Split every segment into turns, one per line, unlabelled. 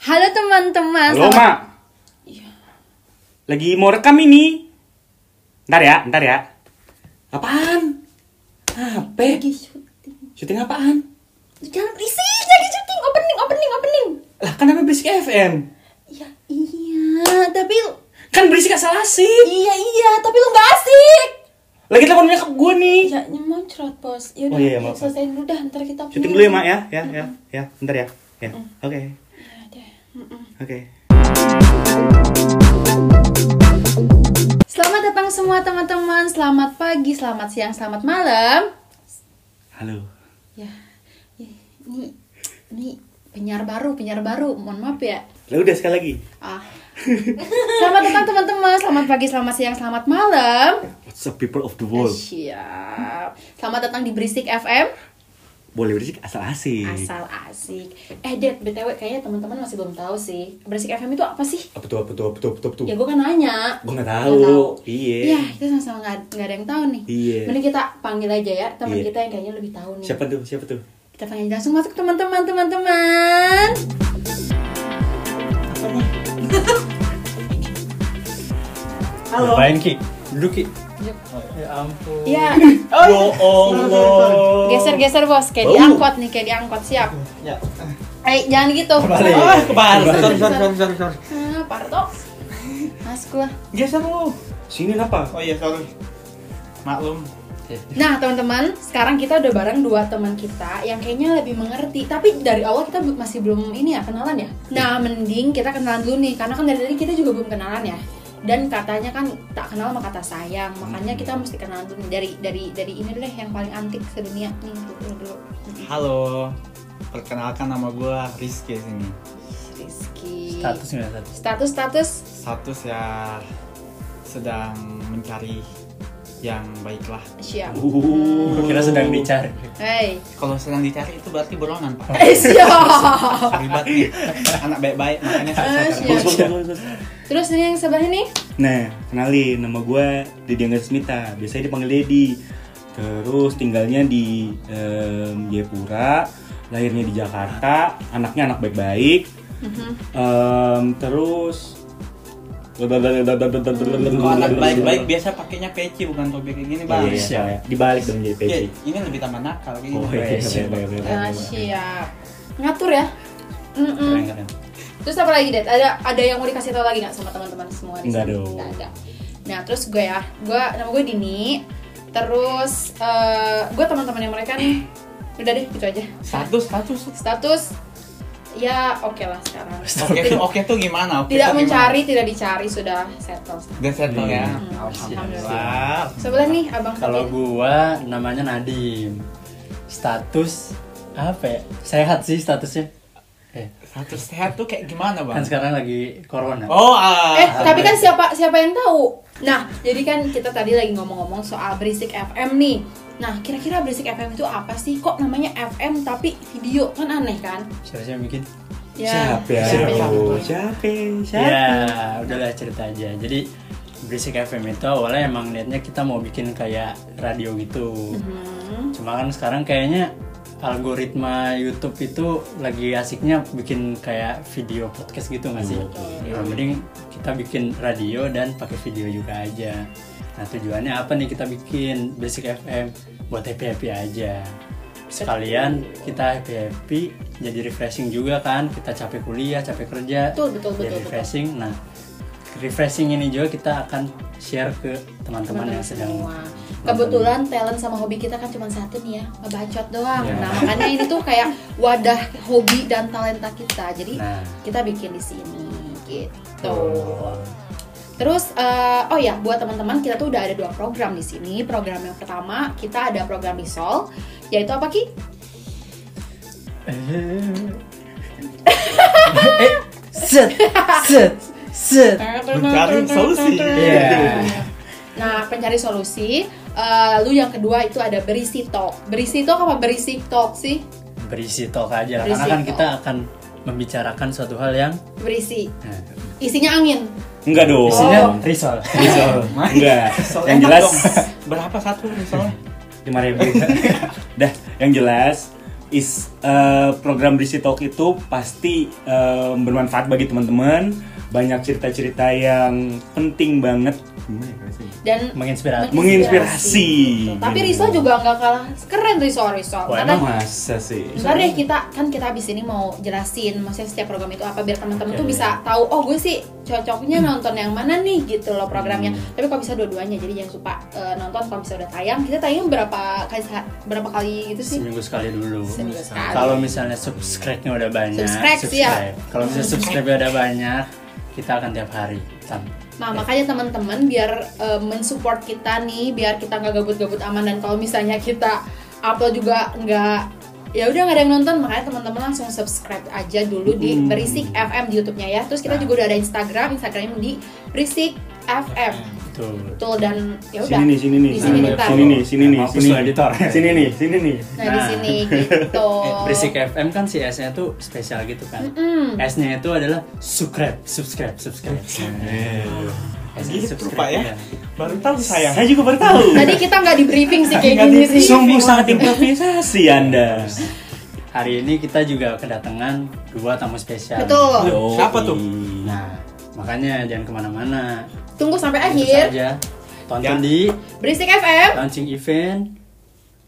Halo teman-teman.
Halo,
selamat- Iya.
Mak. Lagi mau rekam ini. Ntar ya, ntar ya. Apaan? Apa?
Lagi syuting.
Syuting apaan?
Lu Jangan risih, lagi syuting. Opening, opening, opening.
Lah, kan namanya Berisik FM.
Ya iya, tapi lu-
Kan berisik asal asik.
iya iya, tapi lu nggak asik.
Lagi telepon nyokap gue nih.
Ya nyemoncrot bos. Ya udah,
Oh, iya, maaf.
selesaiin dulu dah, ntar kita pulang.
Syuting dulu ya, Mak ya. Ya, ya, ya. Ntar ya. Ya. Oke.
Ya, deh. Mm-mm.
Oke.
Selamat datang semua teman-teman. Selamat pagi, selamat siang, selamat malam.
Halo.
Ya, ya, ini ini penyiar baru, penyiar baru. Mohon maaf ya.
Lah udah sekali lagi.
Ah. Selamat datang teman-teman. Selamat pagi, selamat siang, selamat malam.
What's up people of the world?
Siap. Selamat datang di Berisik FM.
Boleh berisik asal asik.
Asal asik. Eh, Dad, BTW kayaknya teman-teman masih belum tahu sih. Berisik FM itu apa sih?
Apa tuh, apa tuh, apa tuh, apa tuh, apa tuh?
Ya gue kan nanya.
Gua
Nggak
nggak ya tahu. Iya.
Iya, kita sama-sama nggak nggak ada yang tahu nih.
Iya.
Mending kita panggil aja ya teman
Iya.
kita yang kayaknya lebih tahu nih.
Siapa tuh, siapa tuh?
Kita panggil langsung masuk teman-teman, teman-teman.
Halo. Ngapain Ki? Duduk Ki. Ya ampun.
Ya,
Ya Allah.
geser-geser bos, kayak
Bau.
diangkot nih, kayak diangkot siap.
Ya.
Eh, jangan gitu.
Kebalik.
Ah, kebalik.
Oh, Sorry, sorry, sorry, sorry, sorry.
Ah, Parto. Mas gua.
Geser lu.
Iya, Sini kenapa?
Oh iya, sorry. Maklum.
Nah teman-teman, sekarang kita udah bareng dua teman kita yang kayaknya lebih mengerti. Tapi dari awal kita bu- masih belum ini ya kenalan ya. Nah mending kita kenalan dulu nih, karena kan dari tadi kita juga belum kenalan ya. Dan katanya kan tak kenal sama kata sayang, makanya kita mesti kenalan dulu nih. dari dari dari ini deh yang paling antik sedunia nih dulu dulu. dulu.
Halo. Perkenalkan nama gua Rizky sini.
Rizky.
status nggak status
Status status.
Status ya sedang mencari yang baiklah.
Siap.
Uh,
kira sedang dicari
Hey.
Kalau sedang dicari itu berarti borongan, Pak.
Eh, siap.
Sorry banget nih. Anak baik-baik makanya
Eh,
saya
siap.
sadar.
Bagus, bagus, bagus.
Terus ini yang sebelah ini.
Iya, Nah, kenalin nama gue Dedi Angga Smita. Biasanya dipanggil Dedi. Terus tinggalnya di em, Jayapura, lahirnya di Jakarta, anaknya anak baik-baik.
Mm-hmm.
Em, terus
Kalau Oh, anak baik-baik biasa pakainya peci bukan tobek kayak gini, Bang.
Iya, iya, iya. dibalik dong jadi
Iya,
peci.
ini lebih tambah nakal kayak
Oh,
gini.
iya, iya, iya, iya, iya.
Nah, siap. Ngatur ya. Mm-mm.
keren keren
Terus apa lagi, Det? Ada ada yang mau dikasih tahu lagi nggak sama teman-teman semua di
Nggak
sini?
dong.
Nggak ada. Nah, terus gue ya. Gue nama gue Dini. Terus eh, gue teman-temannya mereka nih. Udah deh, gitu aja.
Status, status.
Status ya oke lah sekarang.
Oke tuh, oke tuh gimana? Oke
Tidak
tuh
mencari, tidak dicari, sudah settle.
gimana? Udah settle ya.
Hmm,
Alhamdulillah.
Sebelah nih Abang
kalau
Fatin.
gua namanya Nadim status apa ya sehat sih statusnya eh,
Status sehat tuh kayak gimana,
kan
Bang?
sekarang lagi corona
Oh, ah.
Eh, tapi kan siapa siapa yang tahu? Nah, jadi kan kita tadi lagi ngomong-ngomong soal Berisik FM nih. Nah, kira-kira Berisik FM itu apa sih? Kok namanya FM tapi video? Kan aneh kan?
siapa sih yang bikin
Siapa ya?
Siapa,
Siapa?
siapa?
Siapa? Siapa?
ya udahlah cerita aja jadi Berisik FM itu awalnya emang niatnya kita mau bikin kayak radio gitu
Hmm.
Cuma kan sekarang kayaknya algoritma YouTube itu lagi asiknya bikin kayak video podcast gitu nggak sih? Ya, mending kita bikin radio dan pakai video juga aja. Nah tujuannya apa nih kita bikin Basic FM buat happy happy aja. Sekalian kita happy happy jadi refreshing juga kan. Kita capek kuliah, capek kerja.
Betul, betul, betul,
Jadi
betul.
refreshing. Nah refreshing ini juga kita akan share ke teman-teman yang sedang
semua. Kebetulan talent sama hobi kita kan cuma satu nih ya, ngebacot doang.
Iya.
Nah, makanya ini tuh kayak wadah hobi dan talenta kita. Jadi
Nah.
kita bikin di sini gitu.
Betul.
Terus eh, oh ya buat teman-teman kita tuh udah ada dua program di sini. Program yang pertama kita ada program Risol yaitu apa Ki?
eh, set, set, set.
Mencari solusi.
Iya.
Nah, pencari solusi. eh, lalu yang kedua itu ada berisi talk. Berisi talk apa berisi talk sih?
Berisi talk aja lah,
Berisi
karena kan
talk.
kita akan membicarakan suatu hal yang Nah,
Berisi. Isinya angin.
Enggak dong.
isinya risol.
Enggak.
Soal
Yang
enak
kan
jelas
dong. berapa satu misalnya?
lima ribu. Dah, yang jelas is eh, program Brisi Talk itu pasti eh, bermanfaat bagi teman-teman. Banyak cerita-cerita yang penting banget. Gimana ya rasanya?
dan
Menginspirasi.
Menginspirasi.
Betul. Tapi Riso juga nggak kalah keren Riso Riso.
Wah,
Karena
emang
Masa sih?
Bentar deh kita kan kita habis ini mau jelasin maksudnya setiap program itu apa biar teman-teman
Oke. Hmm.
tuh bisa tahu oh gue sih cocoknya nonton yang mana nih gitu loh programnya. Tapi kalau bisa dua-duanya jadi jangan lupa eh, nonton kalau bisa udah tayang. Kita tayang berapa kali seha- berapa kali gitu sih?
Seminggu sekali dulu.
Seminggu sekali.
Kalau misalnya subscribe-nya udah banyak.
Subscribe,
subscribe.
siap.
Kalau misalnya subscribe-nya udah banyak, kita akan tiap hari. Tam-
Nah, makanya teman-teman biar eh, mensupport kita nih, biar kita nggak gabut-gabut aman dan kalau misalnya kita upload juga nggak ya udah nggak ada yang nonton makanya teman-teman langsung subscribe aja dulu di Berisik FM di YouTube-nya ya. Terus
Nah.
kita juga udah ada Instagram, Instagramnya di Berisik FM.
Betul.
Betul dan ya udah.
Mm. Sini nih, sini nih,
Di sini
nih,
ntar.
sini nih, sini nih,
Mampus
sini
lu, editor.
nih, sini nih, sini nih.
Nah, di
Nah.
sini gitu.
Eh, Berisik FM kan si S-nya tuh spesial gitu kan.
Mm-mm.
S-nya itu adalah subscribe, subscribe, subscribe. S-nya
Gitu,
subscribe,
Pak, ya.
iya.
Baru tahu saya.
Saya juga baru tahu.
Tadi kita nggak di briefing sih kayak
Nggak
gini
di-
sih.
Sungguh sangat improvisasi Anda.
Hari ini kita juga kedatangan dua tamu spesial.
Betul.
Yoi.
Siapa tuh?
Nah, makanya jangan kemana-mana.
Tunggu sampai
Tentu
akhir.
saja tonton
Ya.
di
Berisik FM.
launching event.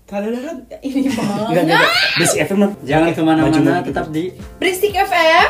Tadadadad.
Ini
Enggak,
banget.
enggak, enggak. Bes FM mah.
Jangan
Pakai baju
kemana-mana,
baju
tetap di
Berisik FM.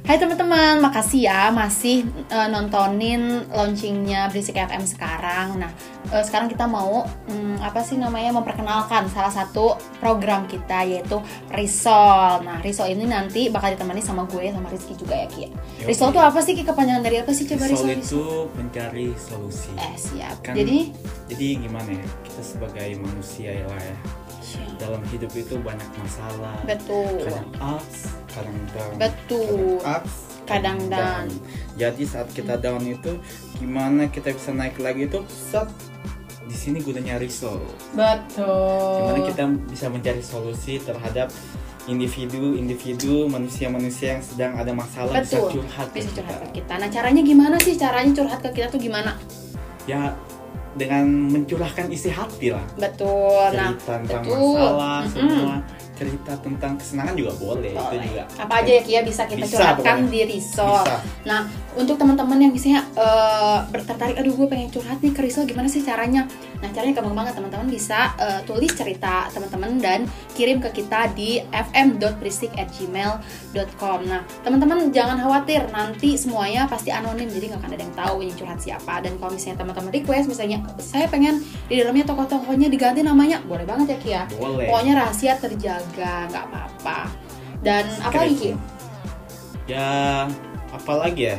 Hai teman-teman, makasih ya masih eh, nontonin launchingnya Berisik FM sekarang. Nah, eh, sekarang kita mau hmm, apa sih namanya memperkenalkan salah satu program kita yaitu Risol. Nah, Risol ini nanti bakal ditemani sama gue sama Rizky juga ya Ki. Risol tuh apa sih Ki? Kepanjangan dari apa sih coba Risol?
Risol itu mencari solusi.
Eh, siap.
Kan-
Jadi
Jadi gimana ya kita sebagai manusia ya lah ya dalam hidup itu banyak masalah.
betul.
Kadang ups, kadang down.
Betul.
Kadang ups,
Kadang down.
Jadi saat kita down itu gimana kita bisa naik lagi itu? Set. Di sini gunanya risol.
Betul.
Gimana kita bisa mencari solusi terhadap individu-individu manusia-manusia yang sedang ada masalah
Betul.
bisa curhat ke
Bisa
kita.
curhat ke kita. Nah, caranya gimana sih? Caranya curhat ke kita tuh gimana?
Ya dengan mencurahkan isi hati lah.
Betul. Nah,
cerita tentang
betul.
masalah
Mm-mm.
semua cerita tentang kesenangan juga boleh, itu
Boleh.
juga
Apa aja ya Kia bisa kita
Bisa,
curhatkan
pokoknya.
di Risol.
Bisa.
Nah, untuk teman-teman yang misalnya eh, tertarik, aduh gue pengen curhat nih ke Risol, gimana sih caranya? Nah, caranya gampang banget teman-teman bisa eh, tulis cerita teman-teman dan kirim ke kita di fm.prisik@gmail.com. Nah, teman-teman jangan khawatir, nanti semuanya pasti anonim, jadi nggak akan ada yang tahu yang curhat siapa. Dan kalau misalnya teman-teman request, misalnya saya pengen di dalamnya tokoh-tokohnya diganti namanya, boleh banget ya Kia.
boleh
Pokoknya rahasia terjaga, nggak apa-apa. Dan apa lagi? Ki?
ya apalagi ya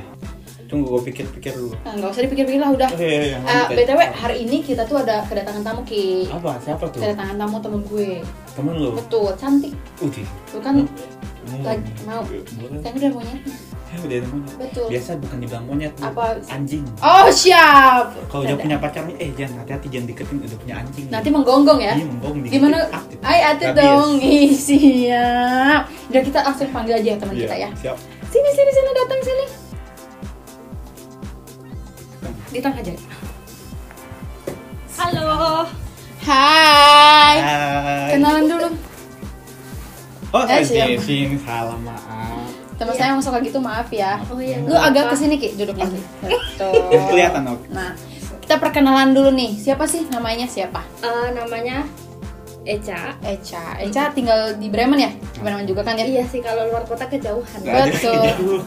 tunggu gue pikir-pikir dulu
Nah, Nggak usah dipikir-pikir lah udah.
oh, iya, iya,
Eh,
lanjut.
BTW hari ini kita tuh ada kedatangan tamu Ki.
apa siapa tuh
Kedatangan tamu temen gue.
temen lu
Betul, cantik.
Uti
Tuh kan
Hmm.
lagi mau.
boleh
Tapi udah monyetnya.
ya udah ada monyet.
Betul.
biasa bukan dibilang monyet Bu.
Apa?
anjing
Oh, siap.
kalau udah punya pacar nih eh jangan hati-hati jangan deketin udah punya anjing
Nanti menggonggong ya.
Iya, menggong, dikit.
Gimana?
Aktif.
Ay, atit
Habis.
dong. Ih, siap. Udah kita langsung panggil aja ya teman
Iya,
kita ya.
siap
Sini, sini, sini datang sini. Di tengah aja.
Halo,
Hai.
Hai.
Kenalan dulu.
oh
Eh,
eh,
siap.
Devin salah maaf
Teman saya yang suka gitu maaf ya.
Oh iya,
Lu
nggak
agak
apa-apa.
kesini Ki, duduk lagi.
Yang
Betul.
Iya. kelihatan oke
Nah, kita perkenalan dulu nih. Siapa sih namanya siapa?
Eh, namanya Eca.
Eca. Eca tinggal di Bremen ya? Di Bremen juga kan ya?
Iya sih kalau luar kota kejauhan.
Nggak ada
Betul.
yang jauh.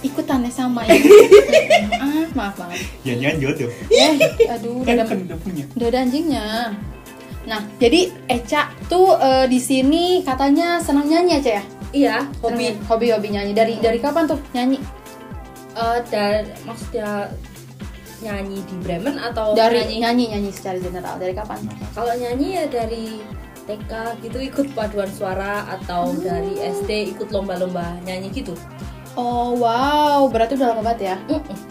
Ikutannya sama ya. ah, maaf banget.
Jangan-jangan jodoh.
Eh, aduh, udah
Kan
ada,
kan udah punya.
udah ada anjingnya. Nah, jadi Eca tuh eh, di sini katanya senang nyanyi aja ya?
Iya,
Hobi,
hobi.
hobi hobi nyanyi. Dari dari kapan tuh nyanyi?
Eh, dan maksudnya nyanyi di Bremen atau
Dari
Oh, nyanyi?
nyanyi nyanyi secara general. Dari kapan?
Kalau nyanyi ya dari TK gitu ikut paduan suara atau dari SD ikut lomba-lomba nyanyi gitu.
Oh wow, berarti udah lama banget ya?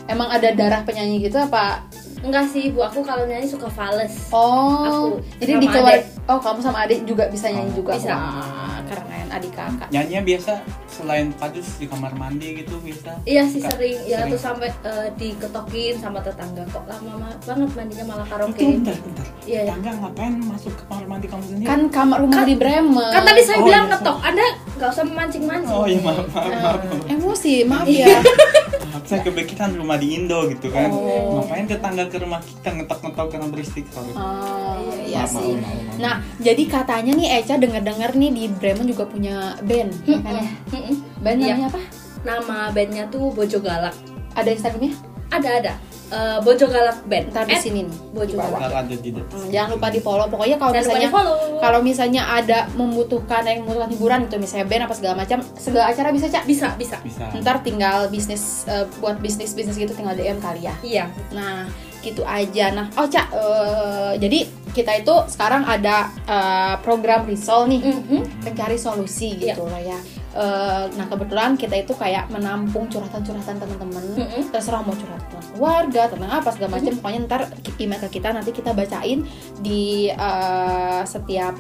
Emang ada darah penyanyi gitu apa?
Enggak sih, Bu, aku kalau nyanyi suka fales.
Oh,
Aku
jadi
sama
di keluar-
adik.
Oh kamu sama adik juga bisa nyanyi juga?
Bisa.
Wah, keren. adik kakak
nyanyinya biasa selain padus di kamar mandi gitu biasa
Iya sih
Kak,
sering, ya
sering.
tuh sampai eh, diketokin sama tetangga kok lama ma- banget mandinya malah
Itu
karaoke.
bentar, bentar.
Iya, iya.
Tangga ngapain masuk ke kamar mandi kamu sendiri?
kan kamar rumah
Kan-
di Bremen
Kan tadi saya
Oh,
bilang
iya,
ngetok, Anda nggak usah memancing-mancing.
Oh iya maaf maaf maaf.
emosi maaf
Iya.
ya
maaf. Saya kebekitan rumah di Indo gitu kan.
Oh.
Ngapain tetangga ke rumah kita ngetok-ngetok karena beristikrar?
Oh, iya
Iya,
Maaf,
sih.
maaf, maaf, maaf.
Nah, jadi katanya nih Eca denger-denger nih di Bremen juga punya band, ya kan ya?
Mm-mm.
Band
Iya.
namanya apa?
Nama bandnya tuh Bojo Galak.
Ada Instagramnya?
Ada ada. Eh, Bojo Galak Band.
Ntar di
At
sini nih.
Bojo
di bawah.
Galak.
Ntar ada di
Hmm, jangan lupa di follow. Pokoknya kalau
Jangan lupa
misalnya
di follow.
kalau misalnya ada membutuhkan yang membutuhkan hiburan gitu, misalnya band apa segala macam, segala acara bisa cak.
Bisa bisa.
bisa.
Ntar tinggal bisnis eh, buat bisnis bisnis gitu tinggal DM kali ya.
Iya.
Nah, gitu aja. Nah, oh Cak, eh, jadi kita itu sekarang ada eh, program risol nih,
Mhm.
pencari solusi
Iya.
gitu loh ya. Eh, nah, kebetulan kita itu kayak menampung curhatan-curhatan teman-teman.
Mhm.
Terserah mau curhat tentang keluarga, tentang apa segala macam. Pokoknya ntar ki- email ke kita nanti kita bacain di eh, setiap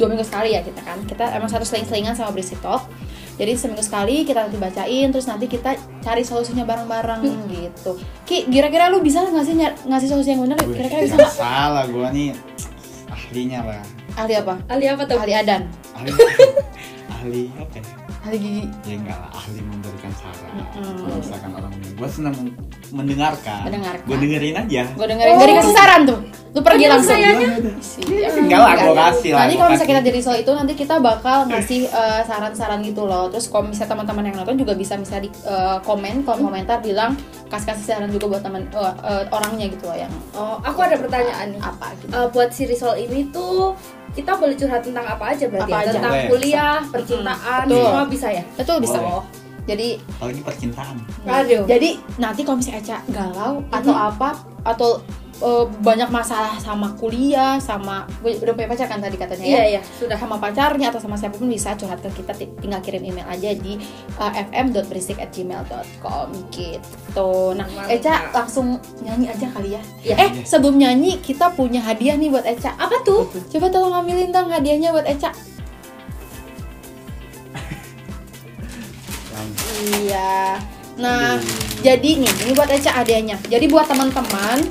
dua minggu sekali ya kita kan. Kita emang satu seling-selingan sama berisi talk. Jadi seminggu sekali kita nanti bacain, terus nanti kita cari solusinya bareng-bareng gitu. Ki, kira-kira lu bisa nggak sih nyar- ngasih solusi yang benar? Kira-kira bisa nggak?
Salah gua nih ahlinya lah.
Ahli apa?
Ali apa tuh?
Ahli adan,
Ahli ahli apa ya?
ahli gigi.
Ya enggak lah ahli memberikan saran.
Mm-mm.
Kalau Misalkan orang ini gua senang mendengarkan.
Mendengarkan.
Gua dengerin aja.
Gue dengerin,
Oh.
dari kasih saran tuh. Lu pergi
Aduh,
langsung.
sayangnya.
Isi.
iya,
Enggak lah, gua kasih lah.
Nanti
gua
kalau misalnya kita
kasih.
jadi soal itu nanti kita bakal ngasih eh, saran-saran gitu loh. Terus kalau misalnya teman-teman yang nonton juga bisa bisa di eh, komen, kalau komentar bilang kasih-kasih saran juga buat teman eh, eh, orangnya gitu loh yang
Oh, aku ada pertanyaan nih.
apa gitu.
Eh, buat si Risol ini tuh kita boleh curhat tentang apa aja berarti
Apa
ya?
aja.
tentang
Boleh.
kuliah, percintaan,
Betul.
semua bisa ya.
Betul bisa.
Boleh.
Jadi
apalagi percintaan.
Aduh. Mm-hmm.
jadi nanti kalau misalnya Eca galau atau apa atau eh, banyak masalah sama kuliah, sama udah punya pacar kan tadi katanya ya?
Iya iya sudah.
udah sama pacarnya atau sama siapapun bisa curhat ke kita ti- tinggal kirim email aja di uh, fm.berisik@gmail.com gitu. Nah,
Mantap.
Eca langsung nyanyi aja kali ya.
Iya.
eh, sebelum nyanyi kita punya hadiah nih buat Eca. Apa tuh? Coba tolong ambilin dong hadiahnya buat Eca. Iya. Nah, jadi nih, ini buat Eca hadiahnya. Jadi buat teman-teman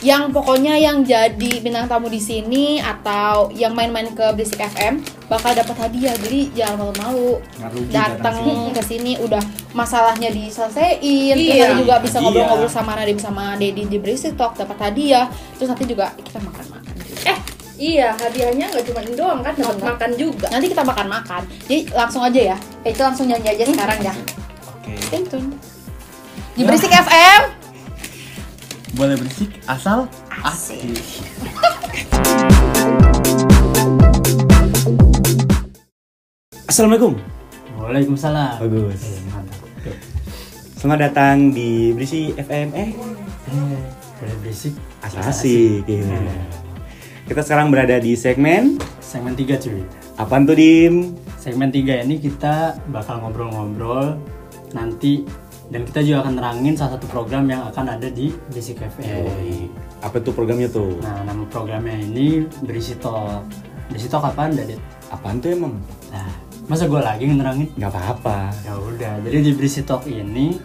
yang pokoknya yang jadi bintang tamu di sini atau yang main-main ke Basic FM bakal dapat hadiah. Jadi jangan malu-malu
Nggak rugi
datang ke sini udah masalahnya diselesaiin terus
Iya.
nanti juga bisa
Hadiah.
ngobrol-ngobrol sama Nadiem sama Dedi di Basic Talk dapat hadiah terus nanti juga kita makan-makan
Eh iya hadiahnya nggak cuma ini doang kan dapat
Bener.
makan juga.
nanti kita makan-makan jadi langsung aja ya itu langsung nyanyi
Hmm.
aja sekarang
Hmm?
ya
Oke.
Tentun. di Basic FM
Boleh berisik asal asik.
Assalamualaikum.
Waalaikumsalam.
Bagus.
Eh, mantap. Tuh.
Selamat datang di Berisi FM. Eh,
Eh, Boleh berisik.
asal asik. Iya. Kita sekarang berada di segmen
Segmen 3 cuy.
Apaan tuh Dim?
Segmen 3 ini kita bakal ngobrol-ngobrol nanti dan kita juga akan terangin salah satu program yang akan ada di Basic FM.
Apa tuh programnya tuh?
Nah, nama programnya ini berisi talk. Berisi talk apaan, Dadet?
Apaan tuh emang?
Nah, masa gue lagi ngerangin?
Gak apa-apa.
Ya udah, jadi di berisi talk ini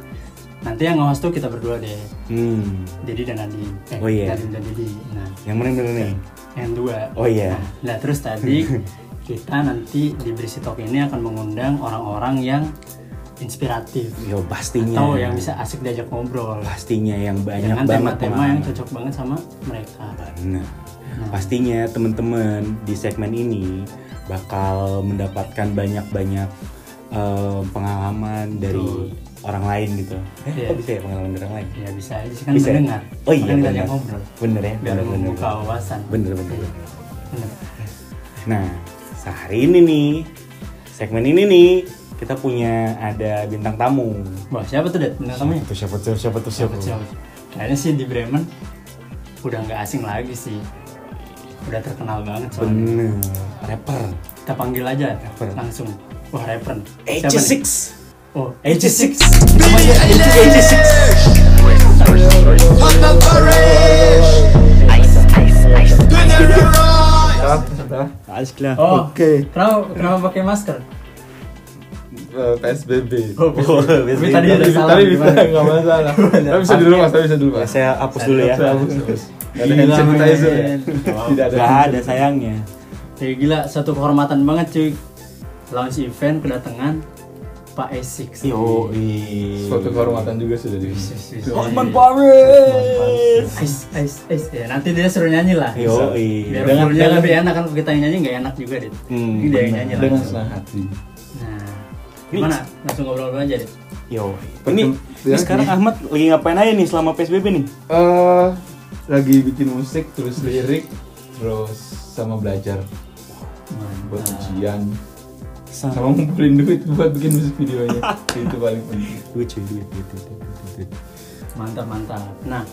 nanti yang nge-host tuh kita berdua deh.
Hmm.
Dedi dan Adi. Eh,
Oh, iya.
Nadiem dan Dedi. Nah,
Yang mana yang bener nih?
yang dua.
Oh, iya.
Nah, nah, terus tadi kita nanti di berisi talk ini akan mengundang orang-orang yang inspiratif
Yo pastinya.
atau yang bisa asik diajak ngobrol.
Pastinya yang Iya. banyak
Dengan
banget
tema-tema yang
pengalaman.
cocok banget sama mereka.
Nah, pastinya teman-teman di segmen ini bakal mendapatkan banyak-banyak eh, pengalaman dari
Betul.
orang lain gitu. Eh,
Iya.
kok bisa ya pengalaman dari orang lain?
Ya bisa aja sih kan
Bisa ya?
mendengar.
Oh iya,
Makanya kita
benar.
ajak ngobrol.
Bener ya?
biar
bener,
membuka wawasan Iya.
Bener, bener, bener.
Bener.
Nah, sehari ini nih, segmen ini nih, kita punya ada bintang tamu.
wah siapa tuh Dad? bener kamu ya?
Tuh, siapa tuh, siapa tuh, siapa tuh?
Siapa? kayaknya sih di Bremen udah nggak asing lagi sih udah terkenal banget soalnya
Bener, rapper.
kita panggil aja
Rapper.
langsung wah rapper siapa nih?
AG6.
oh
AG6.
Salah, salah.
Asli lah.
oh
Oke.
Oh.
kenapa kenapa Oh, pakai masker
eh, PSBB.
Oh, PSBB. Tapi tadi ada salah,
Tapi bisa
gimana?
nggak masalah. Tapi bisa di rumah, tapi bisa di rumah.
Ya, saya hapus dulu ya.
Nggak ada hand sanitizer ya? Tidak ada.
Gak ada sayangnya.
Kayak Eh, gila, satu kehormatan banget cuy. Launch event kedatangan Pak Esik.
Yo,
Suatu kehormatan juga sudah di.
Hotman
Iya. Paris.
Ais, ais, ais. Ya, nanti dia suruh nyanyi lah.
Yo,
Biar
Dengan-
dengan
dengan-
lebih enak kan kalau kita yang nyanyi nggak enak juga, Dit.
Hmm,
Ini dia yang nyanyi
Dengan
langsung.
senang hati.
Nah, gimana? Langsung ngobrol-ngobrol aja, Dit.
Yo,
Pertem-
ini, ini
ya,
sekarang
ini.
Ahmad lagi ngapain aja nih selama PSBB nih?
Eh, lagi bikin musik, tulis lirik, terus sama belajar buat
Nah.
ujian, sama ngumpulin duit buat bikin musik videonya. Itu paling penting.
Lucu, duit, duit, duit, duit, duit, duit.
Mantap, mantap. Nah,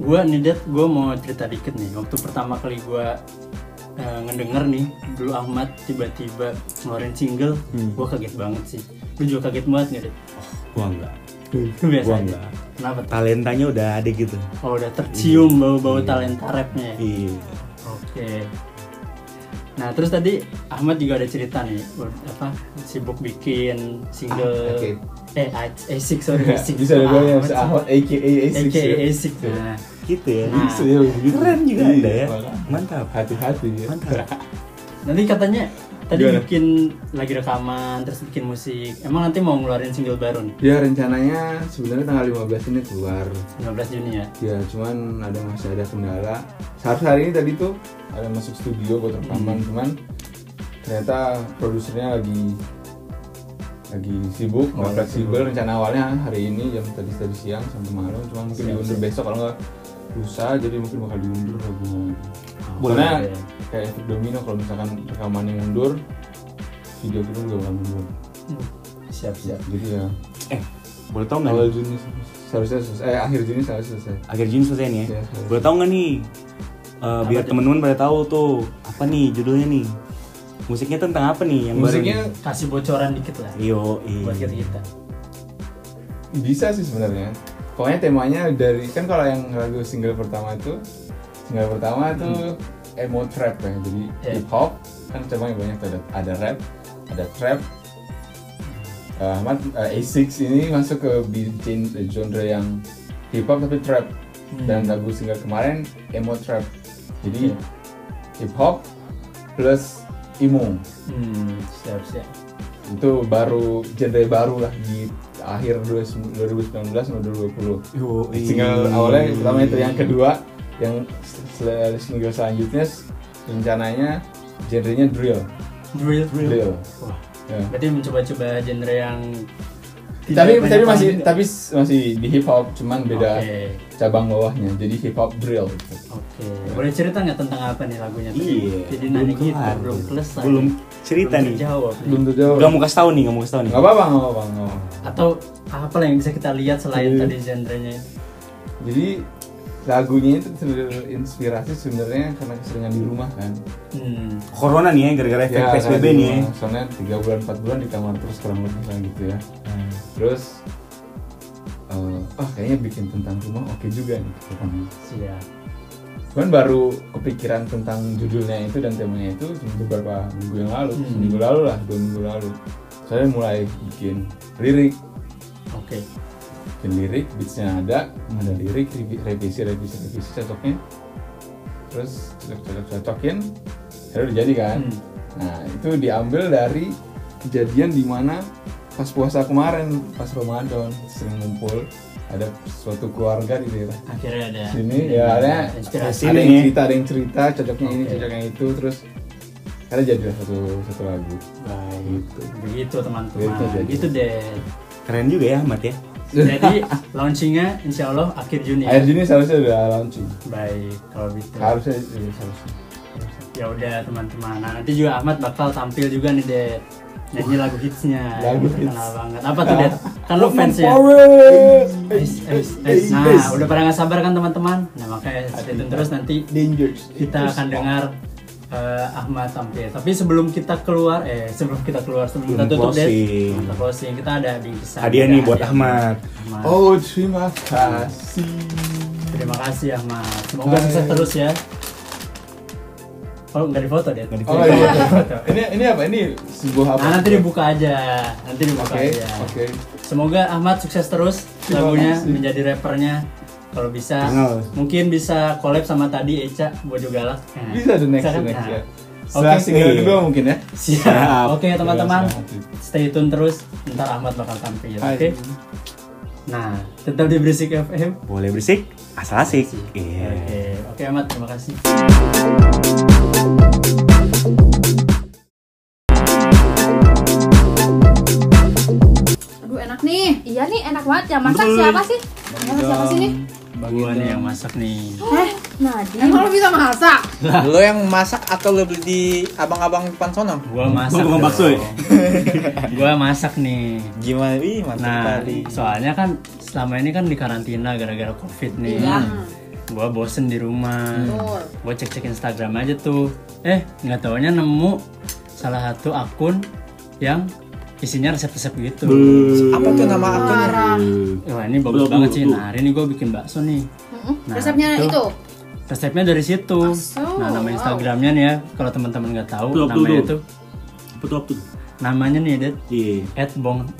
gue nih, Dit, gue mau cerita dikit nih. Waktu pertama kali gue ngedenger nih, dulu Ahmad tiba-tiba ngeluarin single, gue kaget banget sih. Gue juga kaget banget nih, Dit.
Gua enggak.
Itu biasa
Gua
aja.
enggak.
Kenapa tuh?
Talentanya udah ada gitu.
Oh, udah tercium bau-bau talenta rapnya ya?
Iya.
Oke. Nah terus tadi Ahmad juga ada cerita nih, ber- apa sibuk bikin single
Ah, oke.
eh A- asik sorry asik.
Bisa ada gue yang
Ahmad sih.
bisa Ahmad AKA A6
AKA
ya.
asik. Nah,
Gitu ya.
Nah.
Bisa ya, begitu.
Keren juga
Iya,
ada ya.
makanya.
Mantap.
Hati-hati ya.
Mantap.
nanti katanya tadi
Gimana?
bikin lagi rekaman terus bikin musik. Emang nanti mau ngeluarin single baru nih
Ya rencananya sebenarnya tanggal 15 ini keluar.
19 Juni ya.
Ya cuman ada masih ada kendala. Seharusnya hari ini tadi tuh ada masuk studio buat rekaman
Hmm.
cuman ternyata produsernya lagi lagi sibuk nggak fleksibel rencana awalnya hari ini jam tadi tadi siang sampai malam cuman mungkin
Iya,
diundur besok kalau nggak lusa jadi mungkin bakal diundur lagi
Hmm. Boleh. ya.
karena kayak efek domino kalau misalkan rekamannya mundur video kita juga bakal mundur
Hmm. Siap siap. Nah,
jadi ya
Eh, boleh tau nggak?
awal
nih?
Juni seharusnya selesai eh akhir Juni seharusnya selesai
Akhir Juni selesai nih ya.
Iya, selesai.
Boleh tau nggak nih? Eh, biar
tuh?
temen-temen pada tahu tuh apa nih judulnya nih. Musiknya tentang apa nih yang baru?
musiknya
nih?
Kasih bocoran dikit lah
Yo,
Hmm.
iya.
buat kita gitu. kita.
bisa sih sebenarnya pokoknya temanya dari kan kalau yang lagu single pertama itu single pertama itu emo trap ya jadi
Iya.
hip hop kan cabangnya banyak tuh, ada ada rap ada trap Eh, Ahmad eh, A6 ini masuk ke bi- gen- genre yang hip hop tapi trap dan lagu single kemarin emo trap jadi hip hop plus emo
Hmm siap siap.
itu baru genre baru lah di akhir 2019 atau 2020
Yo, iya.
single awalnya pertama itu yang kedua yang sel- single selanjutnya s- rencananya genrenya drill
Drill drill.
drill
Wah.
Ya.
Berarti mencoba-coba genre yang tidak
tapi
banyak
tapi masih
orang-
tapi s- masih di hip hop cuman beda
Oke.
cabang bawahnya jadi hip hop drill gitu.
Oke, boleh cerita nggak tentang apa nih lagunya? tadi?
Iya.
Jadi nanya gitu,
kelar.
belum selesai.
Belum cerita
Belum
nih.
terjawab nih.
belum
Gak
terjawab
mau kasih tahu nih, gak mau kasih tahu nih.
nggak apa-apa nggak apa-apa nggak apa-apa.
Atau apa lah yang bisa kita lihat selain
Iya.
tadi genrenya?
jadi lagunya itu terinspirasi sebenarnya karena keseringan di rumah kan
Hmm,
Corona nih ya, gara-gara efek
Ya,
PSBB
kan,
nih ya.
Soalnya 3 bulan 4 bulan di kamar terus kurang lebih misalnya gitu ya.
Hmm.
Terus eh ah kayaknya bikin tentang rumah oke juga nih katanya.
siap.
Cuman baru kepikiran tentang judulnya itu dan temanya itu cuma beberapa minggu yang lalu,
Hmm.
seminggu lalu lah, dua minggu lalu. Saya mulai bikin lirik,
Oke.
bikin lirik, beatsnya ada, ada lirik, revi- revisi, revisi, revisi, cocoknya. Terus cocok, cocok, cocokin, akhirnya udah jadi kan.
Hmm.
Nah, itu diambil dari kejadian di mana pas puasa kemarin, pas Ramadan sering ngumpul ada suatu keluarga di daerah
Akhirnya ada.
sini ya ada
inspirasi.
ada
nih.
yang cerita ada yang cerita cocoknya ini
Oke.
cocoknya itu terus karena jadilah satu satu lagu
Baik. Begitu teman-teman.
Gitu jadi.
Gitu deh.
Keren juga ya Ahmad ya.
Jadi launchingnya insya Allah akhir Juni. ya?
akhir Juni seharusnya udah launching
Iya. Baik, kalau gitu.
harusnya iya, seharusnya
Ya udah teman-teman. Nah, nanti juga Ahmad bakal tampil juga nih deh nyanyi lagu hitsnya.
Lagu
Kita
hits.
kenal banget. Apa tuh deh? Kan lo fans ya. Ais, ais, ais. Nah, udah pada nggak sabar kan teman-teman? Nah, makanya stay tune terus nanti
dangerous
kita akan dengar eh, Ahmad tampil. Tapi sebelum kita keluar, eh sebelum kita keluar, sebelum kita
Sebelum
tutup deh,
closing.
sebelum kita closing kita ada bingkisan.
Hadiah
Ada
nih buat Ahmad.
ya. Ahmad.
oh terima kasih
Terima kasih Ahmad. Semoga sukses terus ya. Oh nggak difoto deh.
Nggak
Oh iya. ini ini apa? Ini sebuah apa?
Nah, nanti dibuka Iya. Nah. aja, nanti dibuka
Oke,
aja.
oke.
Semoga Ahmad sukses terus
Terima
lagunya
kasih. Nah,
menjadi rappernya. Kalau bisa,
Benar.
mungkin bisa collab sama tadi Eca Bojo Galak. Nah,
Bisa the next
bisa kan?
the next
Nah,
ya.
Oke,
Setelah single
Iya.
kedua mungkin ya.
siap.
Siap.
Oke teman-teman,
Terima kasih.
stay tune terus. Ntar Ahmad bakal tampil. Oke.
Hai.
Nah, tetap di Berisik FM.
Boleh berisik, asal asik. Iya.
Oke, oke Ahmad, terima kasih.
Aduh enak nih.
Iya nih enak banget yang masak siapa sih?
Enak siapa sih nih?
Gua nih yang masak nih.
Eh,
Nadi.
emang lo bisa masak?
Nah. Lo yang masak atau lo beli di abang-abang depan sono?
Gua masak.
tukang
dong.
bakso
eh.
ya?
Gua masak nih.
Gimana? Wih, mantap
Nah,
kali.
soalnya kan selama ini kan di karantina gara-gara covid nih.
Iya.
Gua bosen di rumah.
Betul.
Gua cek-cek Instagram aja tuh. Eh, nggak taunya nemu salah satu akun yang isinya resep-resep gitu.
Apa tuh nama akunnya?
Parah.
Wah, ini bagus
Belum,
banget
belum,
sih.
belum.
Nah, hari ini gua bikin bakso nih.
Mm-mm.
Nah,
Resepnya
tuh.
itu.
Resepnya dari situ.
Bakso,
Nah, nama
wow.
Instagramnya nih ya, kalau teman-teman nggak tahu
Tuh, tuh,
namanya
tuh.
tuh.
Apa tuh apa tuh?
Namanya nih, Dad.
Iya.
At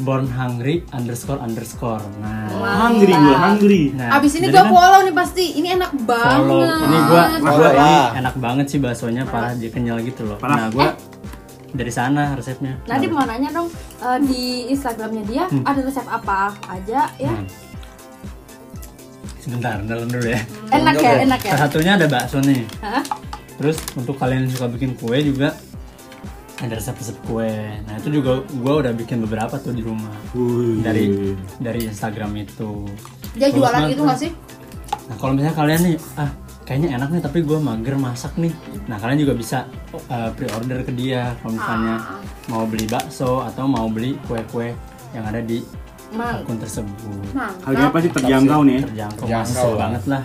born hungry underscore underscore. Nah,
Hungry gue, hungry.
nah,
Abis ini gua
jadi kan-
follow nih pasti. Ini enak
Follow.
banget.
Ini gua, gua
Parah.
ini enak banget sih baksonya parah dia kenyal gitu loh. Nah, gua dari sana resepnya.
Nanti
Nah,
mau nanya dong eh, di
Hmm.
Instagramnya dia ada resep apa aja ya?
sebentar, dalam dulu ya.
Enak ya, enak ya.
Salah satunya ada bakso nih.
Hah?
Terus untuk kalian yang suka bikin kue juga ada resep-resep kue. Nah, itu juga gua udah bikin beberapa tuh di rumah.
Wuih.
Dari dari Instagram itu.
Dia
Bagus
jualan
banget
gitu
tuh.
gak sih?
Nah kalau misalnya kalian nih, ah kayaknya enak nih tapi gue mager masak nih. Nah kalian juga bisa uh, pre-order ke dia kalau misalnya mau beli bakso atau mau beli kue-kue yang ada di
Mal.
akun tersebut.
Nah.
Harganya
Mantap.
pasti terjangkau nih ya.
Terjangkau
Terjangkau
masuk
lah.
banget lah.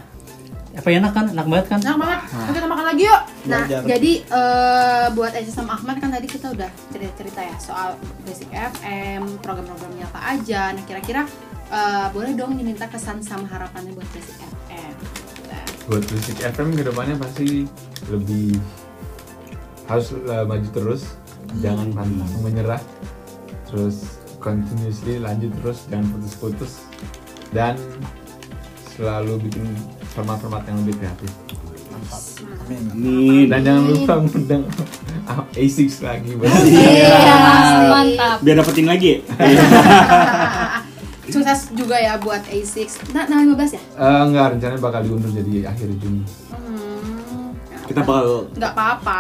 Apa enak kan? Enak banget kan?
Enak banget. Oke, kita makan lagi yuk. Nah,
Belajar.
jadi eh, buat Aziz sama Ahmad kan tadi kita udah cerita-cerita ya soal Basic FM, program-programnya apa aja. Nah, kira-kira eh, boleh dong diminta kesan sama harapannya buat Basic FM. Nah,
Buat Berisik FM kedepannya pasti lebih harus eh, maju terus, jangan pantang menyerah, terus continuously lanjut terus, jangan putus-putus dan selalu bikin format-format yang lebih kreatif.
Amin.
Dan jangan lupa ngundang A6 lagi buat
Iya. Ya,
Nah,
Mantap.
Biar dapetin lagi ya.
Sukses juga ya buat A6. Nah, tanggal 15 ya?
Eh, enggak, rencananya bakal diundur jadi akhir Juni.
Hmm.
Kita bakal
nggak apa-apa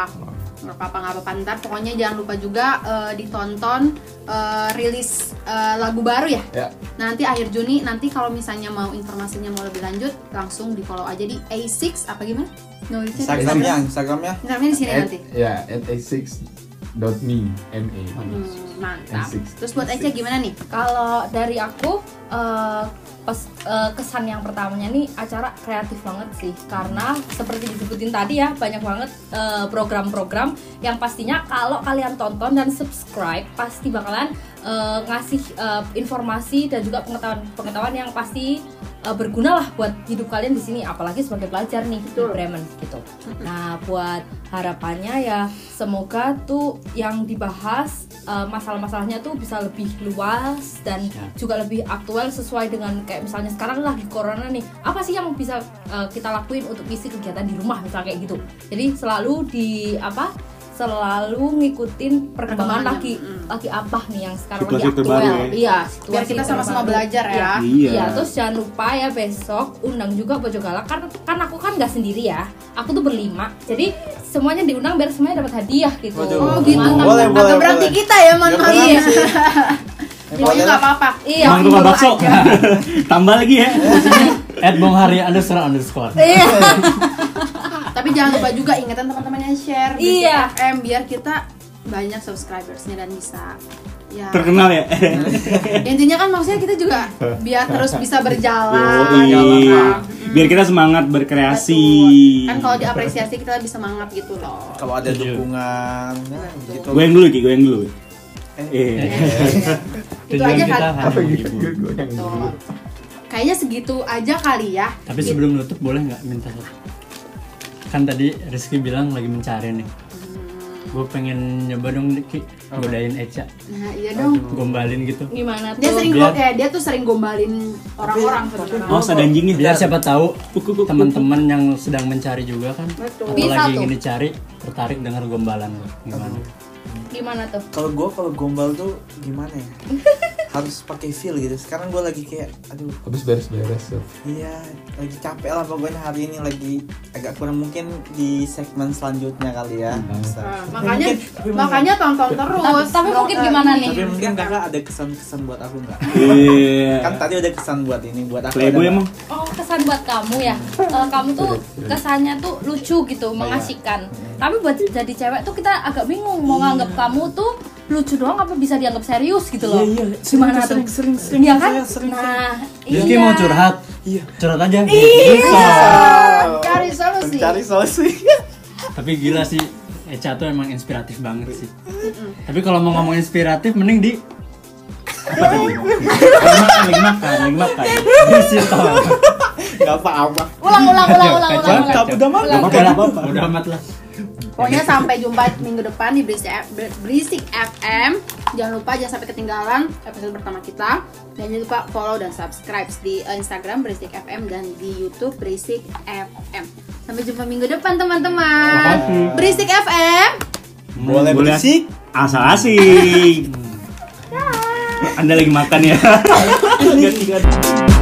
nggak apa-apa nggak apa-apa ntar pokoknya jangan lupa juga eh, ditonton eh, rilis eh, lagu baru ya
Ya,
nanti akhir Juni nanti kalau misalnya mau informasinya mau lebih lanjut langsung di follow aja di A6 apa gimana nulisnya di mana?
Instagramnya, Instagramnya.
Instagramnya di sini
at,
nanti
ya, at a6.me, MA.
Hmm, mantap
A6.
terus buat Eca gimana nih
Kalau dari aku eh, pes- eh, kesan yang pertamanya nih acara kreatif banget sih karena seperti disebutin tadi ya banyak banget eh, program-program yang pastinya kalau kalian tonton dan subscribe pasti bakalan eh, ngasih eh, informasi dan juga pengetahuan-pengetahuan yang pasti eh, berguna lah buat hidup kalian di sini apalagi sebagai pelajar nih di Bremen gitu. Nah, buat harapannya ya semoga tuh yang dibahas eh, masalah-masalahnya tuh bisa lebih luas dan
Ya.
juga lebih aktual sesuai dengan kayak misalnya sekarang lagi corona nih. Apa sih yang bisa eh, kita lakuin untuk isi kegiatan di rumah misalnya kayak gitu. Jadi selalu di apa? selalu ngikutin
Perkembangan.
perkembangan lagi
Mm.
lagi apa nih yang sekarang
Situasi
lagi aktual.
terbaru ya.
Iya,
biar
situasi
kita sama-sama
terbaru.
belajar ya
Iya.
Iya.
Iya, terus jangan lupa ya besok undang juga Bojo Galak karena kan aku kan nggak sendiri ya. Aku tuh berlima. Jadi semuanya diundang biar semuanya dapat hadiah gitu.
Waduh.
oh gitu
Boleh,
Agak
boleh, boleh.
berarti kita ya mohon
Ya,
maaf
boleh
ya
sih.
pokoknya nggak apa-apa
Iya.
Emang tukang
follow
bakso.
aja.
Tambah lagi ya.
At Bong Hari underscore underscore.
Iya.
Iya, tapi jangan lupa juga ingatan teman-teman yang share di
Iya.
FM biar kita banyak subscribersnya dan bisa ya
Terkenal ya.
intinya kan maksudnya kita juga biar terus bisa berjalan
Yoi.
jalan.
Biar kita semangat berkreasi.
Betul. kan kalau diapresiasi kita lebih semangat gitu loh
Kalau ada dukungan, ya, gitu.
Gue yang dulu Ki, gue yang dulu. Eh.
Iya, gitu. itu
Tujuan
aja
kita kan
kali
hanya
gitu?
menghibur.
Betul. kayaknya segitu aja kali ya
Tapi sebelum nutup boleh nggak minta kan tadi Rizky bilang lagi mencari nih gue pengen nyoba dong Ki godain Eca
Nah, iya dong.
gombalin gitu
Gimana tuh?
Dia sering
Biar-
kayak dia tuh sering gombalin orang-orang sebenarnya.
Awas Oh, ada anjingnya.
biar siapa tahu teman-teman yang sedang mencari juga kan atau
Bisa
lagi
tuh.
ingin dicari tertarik dengar gombalan lo gimana
Gimana tuh?
Kalau gue kalau gombal tuh gimana ya? Harus pakai feel gitu. Sekarang gue lagi kayak aduh
habis beres-beres ya. tuh.
Iya, lagi capek lah pokoknya hari ini lagi agak kurang mungkin di segmen selanjutnya kali ya. Bisa.
Nah, makanya
Tapi mungkin-
makanya tonton terus.
Tapi- eh, tapi
Nonton.
mungkin gimana nih?
Tapi Oh, mungkin kakak ada kesan-kesan buat aku nggak?
Iya.
Kan tadi ada kesan buat ini buat aku.
Playboy
ada nggak?
emang.
Oh kesan buat kamu ya Eh, Kamu tuh kesannya tuh lucu
Oh,
gitu,
iya.
mengasihkan Tapi buat jadi cewek tuh kita agak bingung Mau nganggap kamu tuh lucu doang apa bisa dianggap serius gitu loh
Iya. Iya, iya. Sering
Gimana
tuh,
tuh?
sering, sering, sering,
Iya kan?
saya sering,
nah,
Rizky
iya.
mau curhat
Iya.
curhat aja
Cari solusi.
Cari solusi.
tapi gila sih Eca tuh emang inspiratif banget sih tapi kalau mau ngomong inspiratif mending di apa tadi lagi makan lagi makan lagi makan di situ
Gak apa-apa.
Ulang, ulang, ulang, ulang,
Kacau,
ulang,
kacau.
ulang.
Udah mah
Gak apa-apa, gak apa-apa. udah amat lah
Pokoknya sampai jumpa minggu depan di Berisik, F- Berisik FM. Jangan lupa jangan sampai ketinggalan episode pertama kita. Dan jangan lupa follow dan subscribe di eh, Instagram Berisik FM dan di YouTube Berisik FM. Sampai jumpa minggu depan teman-teman. Berisik FM.
Boleh berisik.
Hmm, Asal asik. Anda lagi makan ya.
Ganti-ganti.